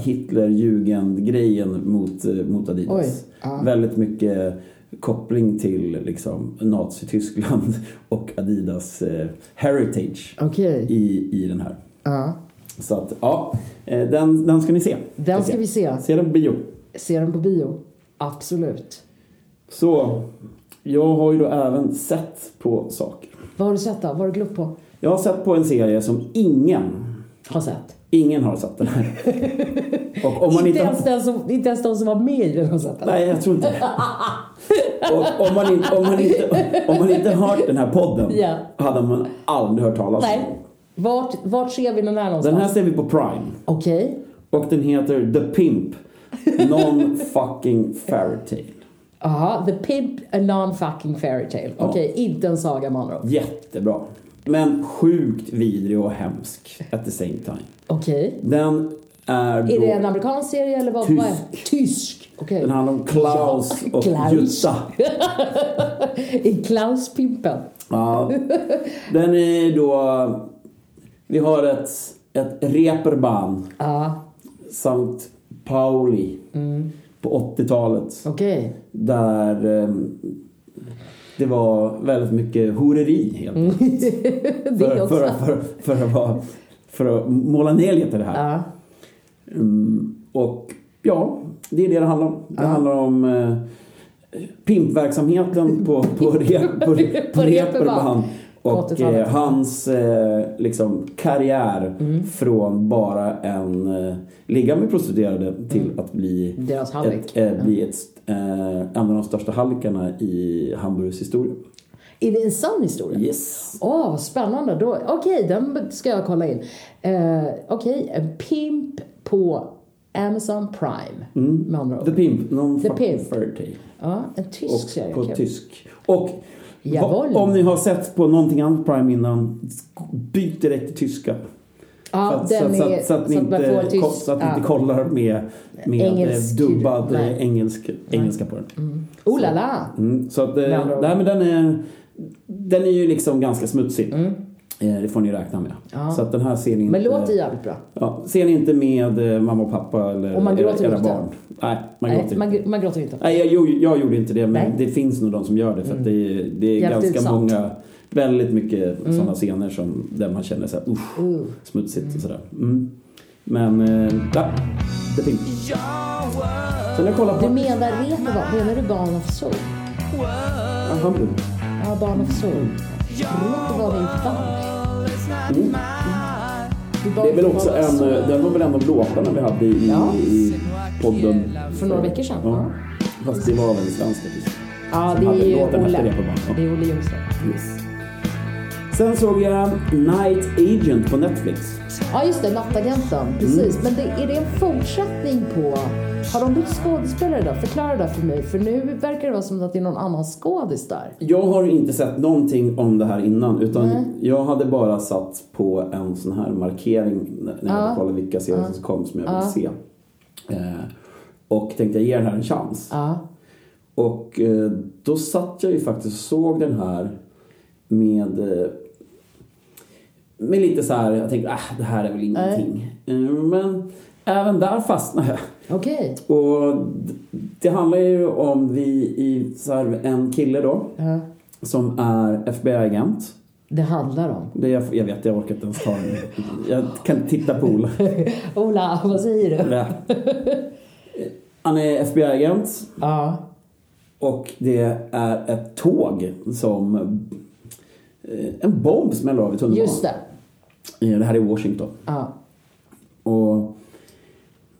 Hitler-Jugend-grejen mot, eh, mot Adidas. Oj, ja. Väldigt mycket koppling till liksom, Nazityskland och Adidas eh, heritage Okej. i, i den här. Ja. Så att, ja, eh, den, den ska ni se. Den ska vi se. Se den på bio. Se den på bio. Absolut. Så, jag har ju då även sett på saker. Vad har du sett då? Vad har du glott på? Jag har sett på en serie som ingen har sett. Ingen har sett den här. Och om man inte, inte har ens den som, inte ens de som var med i den har sett den. Nej, jag tror inte det. Och om, man inte, om, man inte, om man inte hört den här podden Ja. hade man aldrig hört talas om Nej. Vart, vart ser vi den här någonstans? den. här ser vi på Prime. Okej. Och den heter The Pimp Non-Fucking Fairytale. Aha, The Pimp A Non-Fucking Fairy Tale. Okej, inte en saga med andra ord. Jättebra. Men sjukt vidrig och hemsk at the same time. Okej. Den är då... Är det en amerikansk serie eller vad? vad är- Tysk. Okej. Den handlar om Klaus och Klaus. Jutta. Är Klaus Pimpen? Ja. Den är då... Vi har ett, ett reperband. Ja. Sankt Pauli Mm. på 80-talet. Okej. Där eh, det var väldigt mycket horeri Mm. helt enkelt. Det för, också. för, för, för, att vara, för att måla ner lite det här. Ja. Mm, och ja, det är det det handlar om. Det handlar om eh, pimpverksamheten på, på, re, på, re, På på reperband. reperband. På Och 80-talet. eh, hans eh, liksom, karriär Mm. från bara en eh, ligga med prostituerade till att bli, Mm. Deras ett, hallick. eh, bli ett, eh, en av de största hallickarna i Hamburgs historia. Är det en sann historia? Yes. Åh, vad spännande. Då- Okej, den ska jag kolla in. Eh, Okej, en pimp på Amazon Prime. Mm. Med andra ord. The Pimp, någon The fucking Pimp. fairy tale. Ja, en tysk serie. och på Kul. tysk. Och Jawohl. va, om ni har sett på någonting annat Prime innan, byt direkt till tyska. Ja, så, att, den så, att, så, är- att, så att ni så att man inte, får tysk- ko- så att ni ja. inte kollar med, med Engelsk- engelsk, dubbad nej. eh, engelsk, engelska på den. Oh la la! Mm, så att, eh, Med andra ord. nej, men den, är, den är ju liksom ganska smutsig. Eh, Det får ni räkna med. Mm. Ja. Så att den här ser ni inte... Men låter jävligt bra. ja, ser ni inte med eh, mamma och pappa eller Och man era, gråter era inte. barn. Nej, man gråter Nej, man, gr- man gråter inte. Nej, jag, gjorde- jag gjorde inte det, men Nej. Mm. det finns nog de som gör det. För att det, är- det är Jävligt ganska utsatt. många, väldigt mycket Mm. såna sådana scener som, där man känner såhär, usch, Uh. smutsigt och sådär. Mm. Men, eh, ja, det är fint. Sen har jag kollat Du på menar Reeperbahn? Menar du Barn of Soul? Hamburg. Ja, Barn of Soul. Reeperbahn är ju ett band. Mm. Det är väl också en, eh, den var väl en av låtarna vi hade i, i podden. För några veckor sedan, Ja. ja. Fast det var väl en svensk artist. Ja, som det hade är ju låten efter Olle. det på bandet. Det är Olle Ljungström. Yes. Sen såg jag Night Agent på Netflix. Ja, just det. Nattagenten. Precis. Men det, är det en fortsättning på... Har de bytt skådespelare då? Förklara det för mig. För nu verkar det vara som att det är någon annan skådis där. Jag har inte sett någonting om det här innan utan Nej. jag hade bara satt på en sån här markering när när jag Ja. hade kollat vilka serier Ja. som kom som jag ville Ja. se. Eh, och tänkte jag ger den här en chans. Ja. Och eh, då satt jag ju faktiskt och såg den här med eh, med lite så här, jag tänkte ah, det här är väl ingenting. Eh, Men även där fastnade jag. Okej. Och d- det handlar ju om vi i så här, en kille då Ja. som är FBI-agent. Det handlar om. Det jag, jag vet, jag orkar inte ens ta den. Jag kan inte titta på Ola. Ola, vad säger du? Nej. Han är FBI-agent. Ja. Och det är ett tåg som... eh, En bomb smäller av i tunnelbanan. Just det. Eh, Det här är Washington. Ja. Och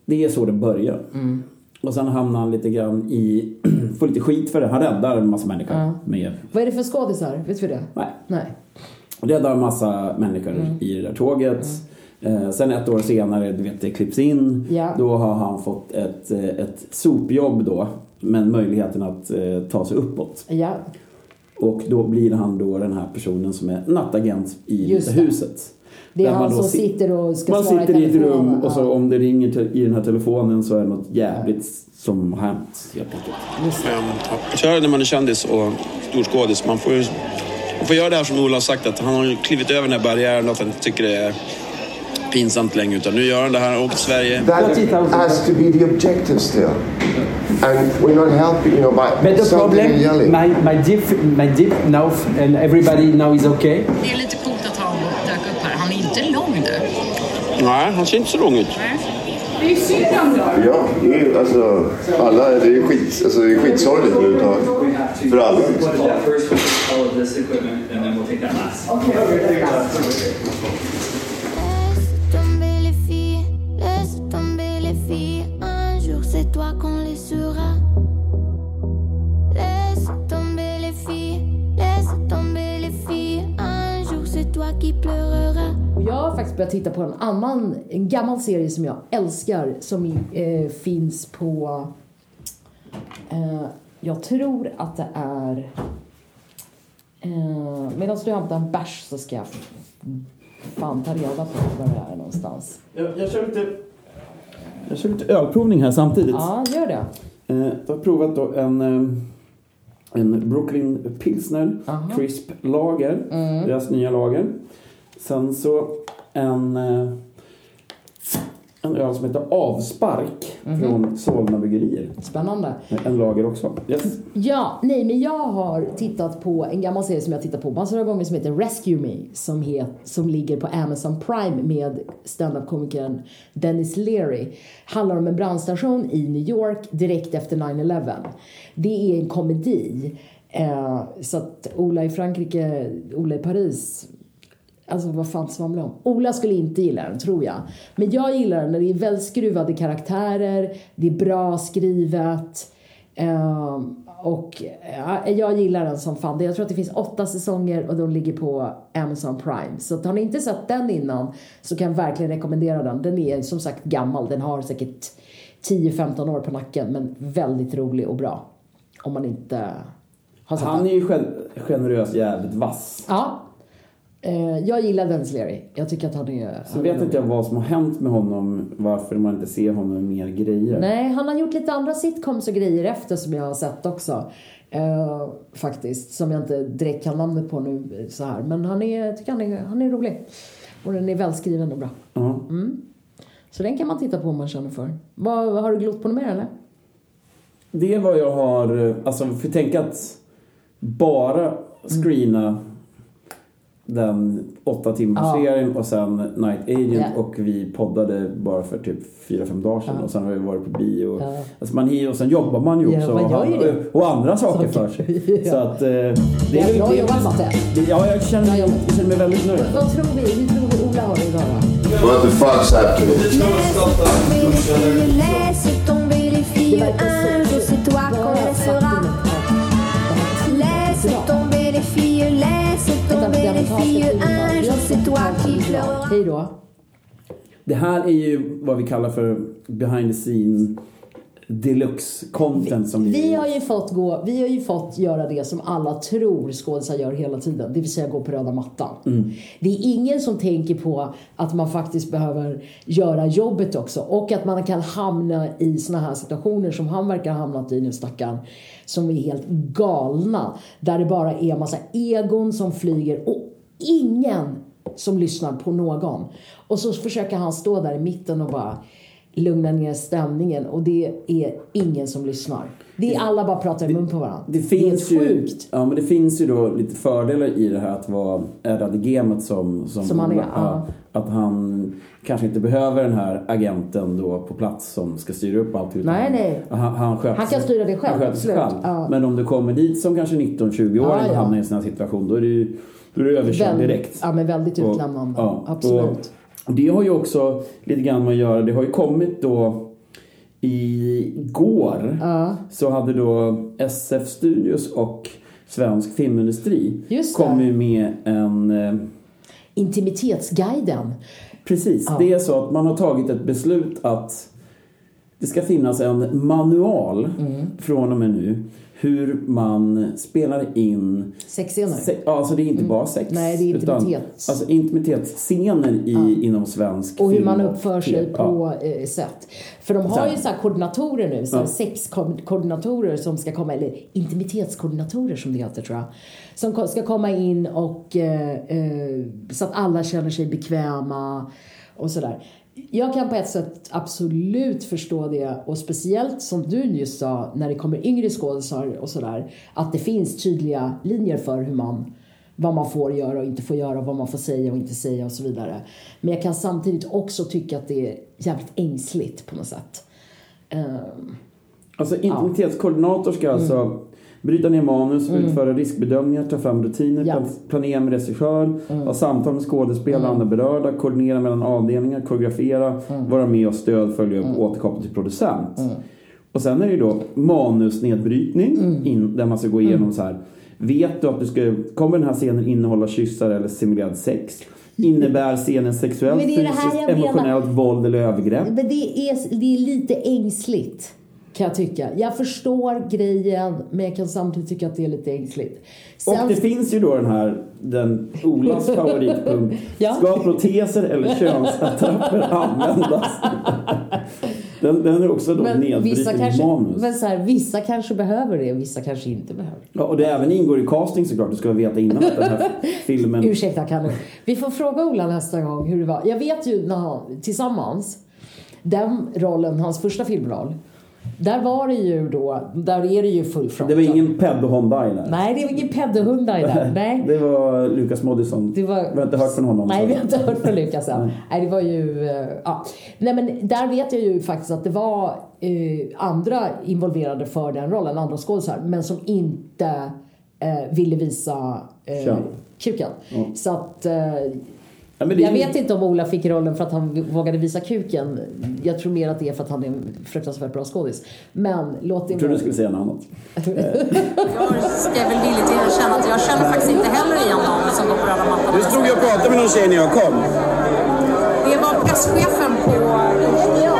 det är så det börjar. Mm. Och sen hamnar han lite grann i... Får lite skit för det. Han räddar en massa människor. Ja. Med, Vad är det för skådisar? Vet vi det? Nej. Nej. Mm. räddar en massa människor i det där tåget. Eh, sen ett år senare, du vet, det klipps in. Ja. Då har han fått ett, eh, ett sopjobb då. Men möjligheten att eh, ta sig uppåt. Ja. Och då blir han då den här personen som är nattagent i Just Vita det. huset. Det är Där han då som sit- sitter och ska Man svara sitter i ett telefonen. rum och Ja. så om det ringer till, i den här telefonen så är det något jävligt som har hänt helt enkelt. Ehm, ja. Så är det när man är kändis och storskådis. Man får ju man får göra det här som Ola har sagt att han har ju klivit över den här barriären att han inte tycker det är pinsamt längre utan nu gör han det här, han åker till Sverige. That has to be the objective still. And we're not helping, you know, by But the something and problem, yelling. my, my deep, my deep now, and everybody now is okay. Det är lite coolt att han dök upp här. Han är inte lång du. Nej, han ser inte så lång ut. Det är ju synd om dem. Ja, det är ju alltså, alla, det är ju skit, alltså, det är skitsorgligt nu ett tag. För alla. liksom. tomber les filles, laisse tomber les filles. Un jour c'est toi qu'on les sera. Laisse tomber les filles, laisse tomber les filles. Un jour c'est toi qui pleureras. Och jag har faktiskt börjat titta på en annan, en gammal serie som jag älskar som eh, finns på, eh, jag tror att det är, eh, medan du hämtar en bärs så ska jag fan ta reda på var det är någonstans. Jag, jag kör lite... Jag kör lite ölprovning här samtidigt. Ja, gör det. Eh, jag har provat då en, eh, en Brooklyn Pilsner Crisp Lager. Mm. Deras nya lager. Sen så en, eh, en öl som heter Avspark Mhm. från Solna Bryggerier. Spännande. En lager också. Yes. Ja, nej men jag har tittat på en gammal serie som jag tittat på massor av gånger som heter Rescue Me som, het, som ligger på Amazon Prime med standup-komikern Dennis Leary. Handlar om en brandstation i New York direkt efter 9-11. Det är en komedi. Eh, så att Ola i Frankrike, Ola i Paris Alltså vad fan svamlar jag om? Ola skulle inte gilla den tror jag. Men jag gillar den när det är väl skruvade karaktärer, det är bra skrivet. ehm, och ja, jag gillar den som fan. Jag tror att det finns åtta säsonger och de ligger på Amazon Prime. Så att har ni inte sett den innan så kan jag verkligen rekommendera den. Den är som sagt gammal. Den har säkert 10-15 år på nacken men väldigt rolig och bra. Om man inte har sett Ah. Han den. är ju gen- generös jävligt vass. Ja. Eh, jag gillar Dennis Leary. Jag tycker att han är... Så vet inte jag vad som har hänt med honom, varför man inte ser honom i mer grejer. Nej, han har gjort lite andra sitcoms och grejer efter som jag har sett också. Eh, faktiskt, som jag inte direkt kan namnet på nu eh, så här. Men han är, jag tycker han är, han är rolig. Och den är välskriven och bra. Ja. Mm. Så den kan man titta på om man känner för. Vad, vad har du glott på något mer eller? Det är vad jag har... Alltså, för tänk att Mm. bara screena den åtta timmars Ja. serien och sen Night Agent Ja. och vi poddade bara för typ fyra, fem dagar sedan Ja. och sen har vi varit på bio. Ja. Alltså man hinner och sen jobbar man ju Ja, också man och, gör ju det. och andra saker för sig. Så att... eh, det är Det är väl- bra det- jobbat Matte. det- Ja, jag känner, jag känner mig väldigt nöjd. Vad tror vi? Hur tror vi Ola har det idag då? What the fuck's happening? Laisse tomber les filles, un jour c'est toi qu'on laissera. Laisse tomber les filles, laisse tomber vérifie un jour, c'est toi qui pleureras. Hej då. Det här är ju vad vi kallar för behind the scene deluxe content som Vi har, ju fått gå, vi har ju fått göra det som alla tror skådisar gör hela tiden, det vill säga gå på röda mattan. Mm. Det är ingen som tänker på att man faktiskt behöver göra jobbet också och att man kan hamna i såna här situationer som han verkar ha hamnat i nu stackaren som är helt galna där det bara är en massa egon som flyger och ingen som lyssnar på någon. Och så försöker han stå där i mitten och bara lugna ner stämningen och det är ingen som lyssnar. Det är alla bara pratar i mun på varandra. Det finns det är ju, sjukt. ja, men det finns ju då lite fördelar i det här att vara ärrad i gamet som, som, Som han är, Ja, ja. Att han kanske inte behöver den här agenten då på plats som ska styra upp allt. utan Nej, han- nej. Han, han, sköter Han kan sig- styra det själv, Han sköter sig absolut. själv. Ja. Men om du kommer dit som kanske 19-20-åring Ja, ja. och hamnar i en sån här situation då är du, då är du överkörd Väldigt- direkt. Ja, men väldigt Och- utlämnande. ja, Absolut. Och det har ju också lite grann med att göra. Det har ju kommit då igår så hade då SF Studios och Svensk Filmindustri Just det. kommit med en eh, Intimitetsguiden. Precis, det är så att man har tagit ett beslut att det ska finnas en manual Mm. från och med nu hur man spelar in Sexscener. Mm. Se- ja, alltså det är inte bara sex. Nej, det är Utan, intimitet. alltså intimitetsscener i, inom svensk Och hur film man uppför sig tv. på eh, sätt. För de Så har här. ju så här koordinatorer nu, så Ja. här sexkoordinatorer som ska komma, eller intimitetskoordinatorer som det heter tror jag. Som ko- ska komma in och eh, eh, så att alla känner sig bekväma och sådär. Jag kan på ett sätt absolut förstå det och speciellt som du just sa när det kommer yngre skådisar och sådär. Att det finns tydliga linjer för hur man vad man får göra och inte får göra, vad man får säga och inte säga och så vidare. Men jag kan samtidigt också tycka att det är jävligt ängsligt på något sätt. Ehm, Alltså intimitetskoordinator ska alltså bryta ner manus, Mm. utföra riskbedömningar, ta fram rutiner, Ja. Mm. plan- planera med regissör, ha samtal med skådespelare och andra berörda, koordinera mellan avdelningar, koreografera, Mm. vara med och stöd, följa upp och återkoppla till producent. Och sen är det ju då manusnedbrytning Mm. in, där man ska gå igenom så här. Vet du att du ska, kommer den här scenen innehålla kyssar eller simulerad sex? Innebär scenen sexuellt, Mm. Men det är det här fysiskt, jag menar. emotionellt våld eller övergrepp? Men det är, det är lite ängsligt kan jag tycka. Jag förstår grejen men jag kan samtidigt tycka att det är lite ängsligt. Sen- Och det finns ju då den här, den Olas favoritpunkt. Ja. Ska proteser eller könsattrapper användas? Den, den är också då men vissa, nedbruten i kanske, manus. men så här, vissa kanske behöver det vissa kanske inte behöver Ja, och det även ingår i casting såklart. Du ska veta innan att den här filmen... Ursäkta Kalle. Vi får fråga Ola nästa gång hur det var. Jag vet ju när han, tillsammans, den rollen, hans första filmroll, där var det ju då, där är det ju full front. Det var ingen Peddo Hondai där. Nej, det var ingen peddohundar i där. Nej. Det var Lukas Moodysson. Det var... Vi har inte hört från honom. Nej, så- vi har inte hört från Lukas än. Nej, det var ju... eh, Ja. Nej, men där vet jag ju faktiskt att det var eh, andra involverade för den rollen, andra skådisar, men som inte eh, ville visa eh, Kön. kuken. Ja. Så att... Eh, men det är jag ju- vet inte om Ola fick rollen för att han vågade visa kuken. Jag tror mer att det är för att han är en fruktansvärt bra skådis. Men låt det Jag trodde vara. du skulle säga något annat. Jag ska väl villigt erkänna att jag känner faktiskt inte heller igen någon som går på röda mattan. Du stod jag och pratade med någon tjej när jag kom. Det var presschefen på IKEA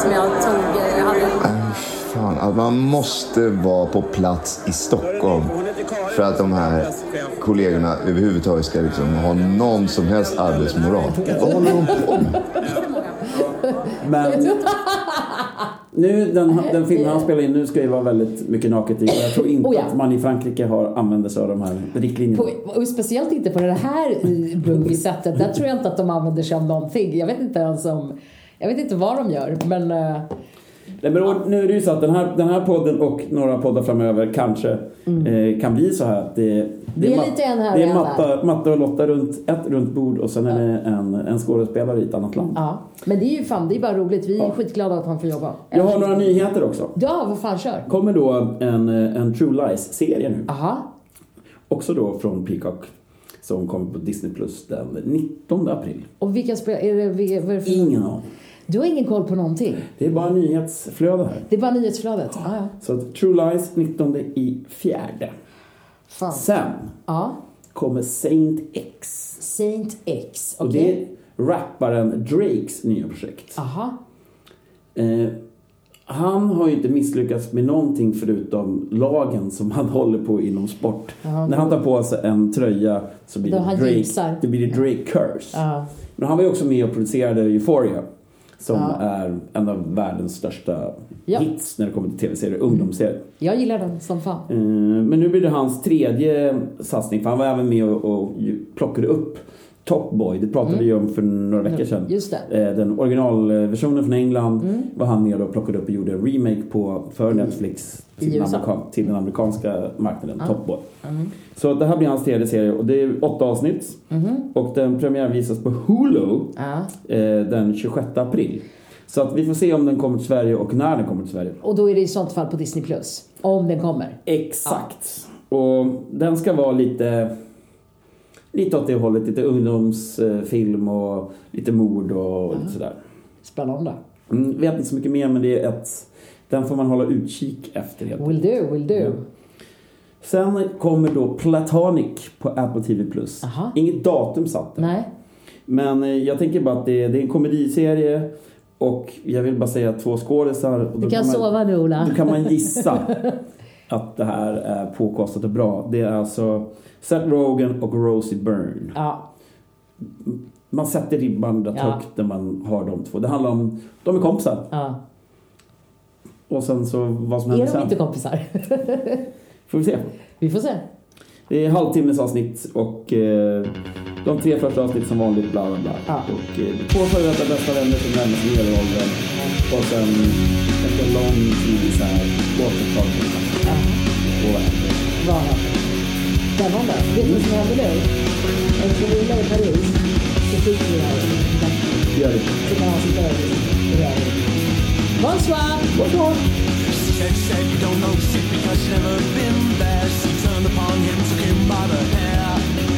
som jag tog, eh, hade Fan, att man måste vara på plats i Stockholm för att de här kollegorna överhuvudtaget ska liksom ha någon som helst arbetsmoral. Vad håller de på med? Men nu, den, den filmen han spelar in nu ska ju vara väldigt mycket naket i. Och jag tror inte Eh. Oh ja. att man i Frankrike har använder sig av de här riktlinjerna. På, och speciellt inte på det här boogie-sättet. Där tror jag inte att de använder sig av någonting. Jag vet inte ens om... Jag vet inte vad de gör, men... eh, Nej, men och nu är det ju så att den här, den här podden och några poddar framöver kanske eh, kan bli så här att det, det, Mm. Det är mat- lite en här det och är en matta, matta och Lotta runt ett runt bord och sen är det en, en skådespelare i ett annat land. Ja. Men det är ju fan, det är bara roligt. Vi är skitglada att han får jobba. Jag har några nyheter också. Ja, vad fan, kör! kommer då en, en True Lies-serie nu. Aha. Också då från Peacock som kommer på Disney Plus den 19 april. Och vilka spel... Är det, vi- vad är det för... Ingen aning. Du har ingen koll på någonting? Det är bara nyhetsflöde här. Det är bara nyhetsflödet? Ah, ja. Så att True Lies 19 i fjärde. Fan. Sen Ja. kommer Saint X. Saint X, Och okej. det är rapparen Drakes nya projekt. Aha. Eh, han har ju inte misslyckats med någonting förutom lagen som han håller på inom sport. Jaha. När han tar på sig en tröja så blir Då det han Drake, jinxar. det blir det Drake Curse. Ja. Men han var ju också med och producerade Euphoria. Som Ja. är en av världens största Ja. Mm. hits när det kommer till tv-serier, ungdomsserier. Jag gillar den som fan. Eh, Men nu blir det hans tredje satsning för han var även med och, och ju- plockade upp Top Boy, det pratade Mm. vi om för några veckor sedan. Just det. Eh, Den originalversionen från England Mm. var han nere och plockade upp och gjorde en remake på för Netflix till, I den, USA. amerikan- till den amerikanska marknaden, Ja. Top Boy. Mm. Så det här blir hans tredje serie och det är åtta avsnitt. Mhm. Och den premiärvisas på Hulu Ja. eh, den 26 april. Så att vi får se om den kommer till Sverige och när den kommer till Sverige. Och då är det i sånt fall på Disney+. Plus. Om den kommer. Exakt. Och den ska vara lite, lite åt det hållet, lite ungdomsfilm och lite mord och lite sådär. Spännande. Mm, vet inte så mycket mer men det är ett, den får man hålla utkik efter helt Will do, will do. Sen kommer då Platonic på Apple TV+. Plus. Inget datum satt där. Nej. Men eh, jag tänker bara att det, det är en komediserie och jag vill bara säga två skådisar. och då Du kan man- sova nu Ola. Då kan man gissa att det här är påkostat och bra. Det är alltså Seth Rogen och Rosie Byrne. Ja. Man sätter ribban rätt Ja. högt när man har de två. Det handlar om, de är kompisar. Ja. Och sen så vad som Är händer de sen. inte kompisar? Får vi se. Vi får se. Det är halvtimmes avsnitt och eh, de tre första avsnitt som vanligt bla bla bla. Och eh, två före detta bästa vänner som närmar sig medelåldern. Och sen efter en lång tid så här återtar de eh, kontakten. Vad händer? Spännande. Vet du vad som hände nu? Eftersom vi var i Paris så fick vi det här. Och gör det. Så kan han sitta där och göra det. Bonsoir! Bonsoir! She said you don't know shit because she's never been there. She turned upon him, took him by the hair. "Oh,